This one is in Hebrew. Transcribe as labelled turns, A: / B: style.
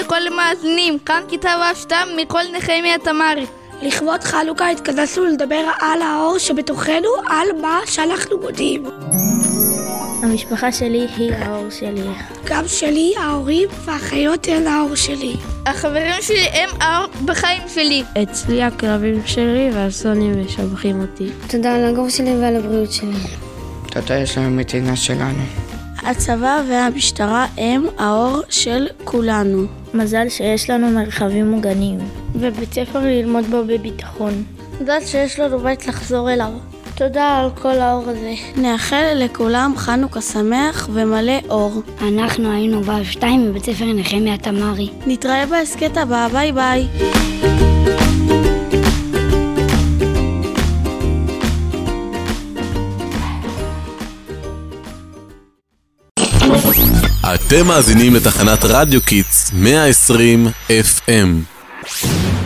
A: לכל המאזינים, כאן כיתה ו-2 מכל נחמיה תמרי.
B: לכבוד חנוכה התכנסנו לדבר על האור שבתוכנו, על מה שאנחנו מודיעים.
C: המשפחה שלי היא האור שלי.
B: גם שלי, ההורים והאחיות הם האור שלי.
A: החברים שלי הם האור בחיים שלי.
D: אצלי הכלבים שלי והסונים משבחים אותי.
E: תודה על הגוף שלי ועל הבריאות שלי.
F: תודה, יש לנו מדינה שלנו.
G: הצבא והמשטרה הם האור של כולנו.
C: מזל שיש לנו מרחבים מוגנים.
H: ובית ספר ללמוד בו בביטחון.
I: מזל שיש לנו בית לחזור אליו. תודה על כל האור הזה.
G: נאחל לכולם חנוכה שמח ומלא אור.
J: אנחנו היינו באב 2 בבית ספר נחמיה תמרי.
G: נתראה בהסכת הבא, ביי ביי.
K: אתם מאזינים לתחנת רדיו קיטס 120 FM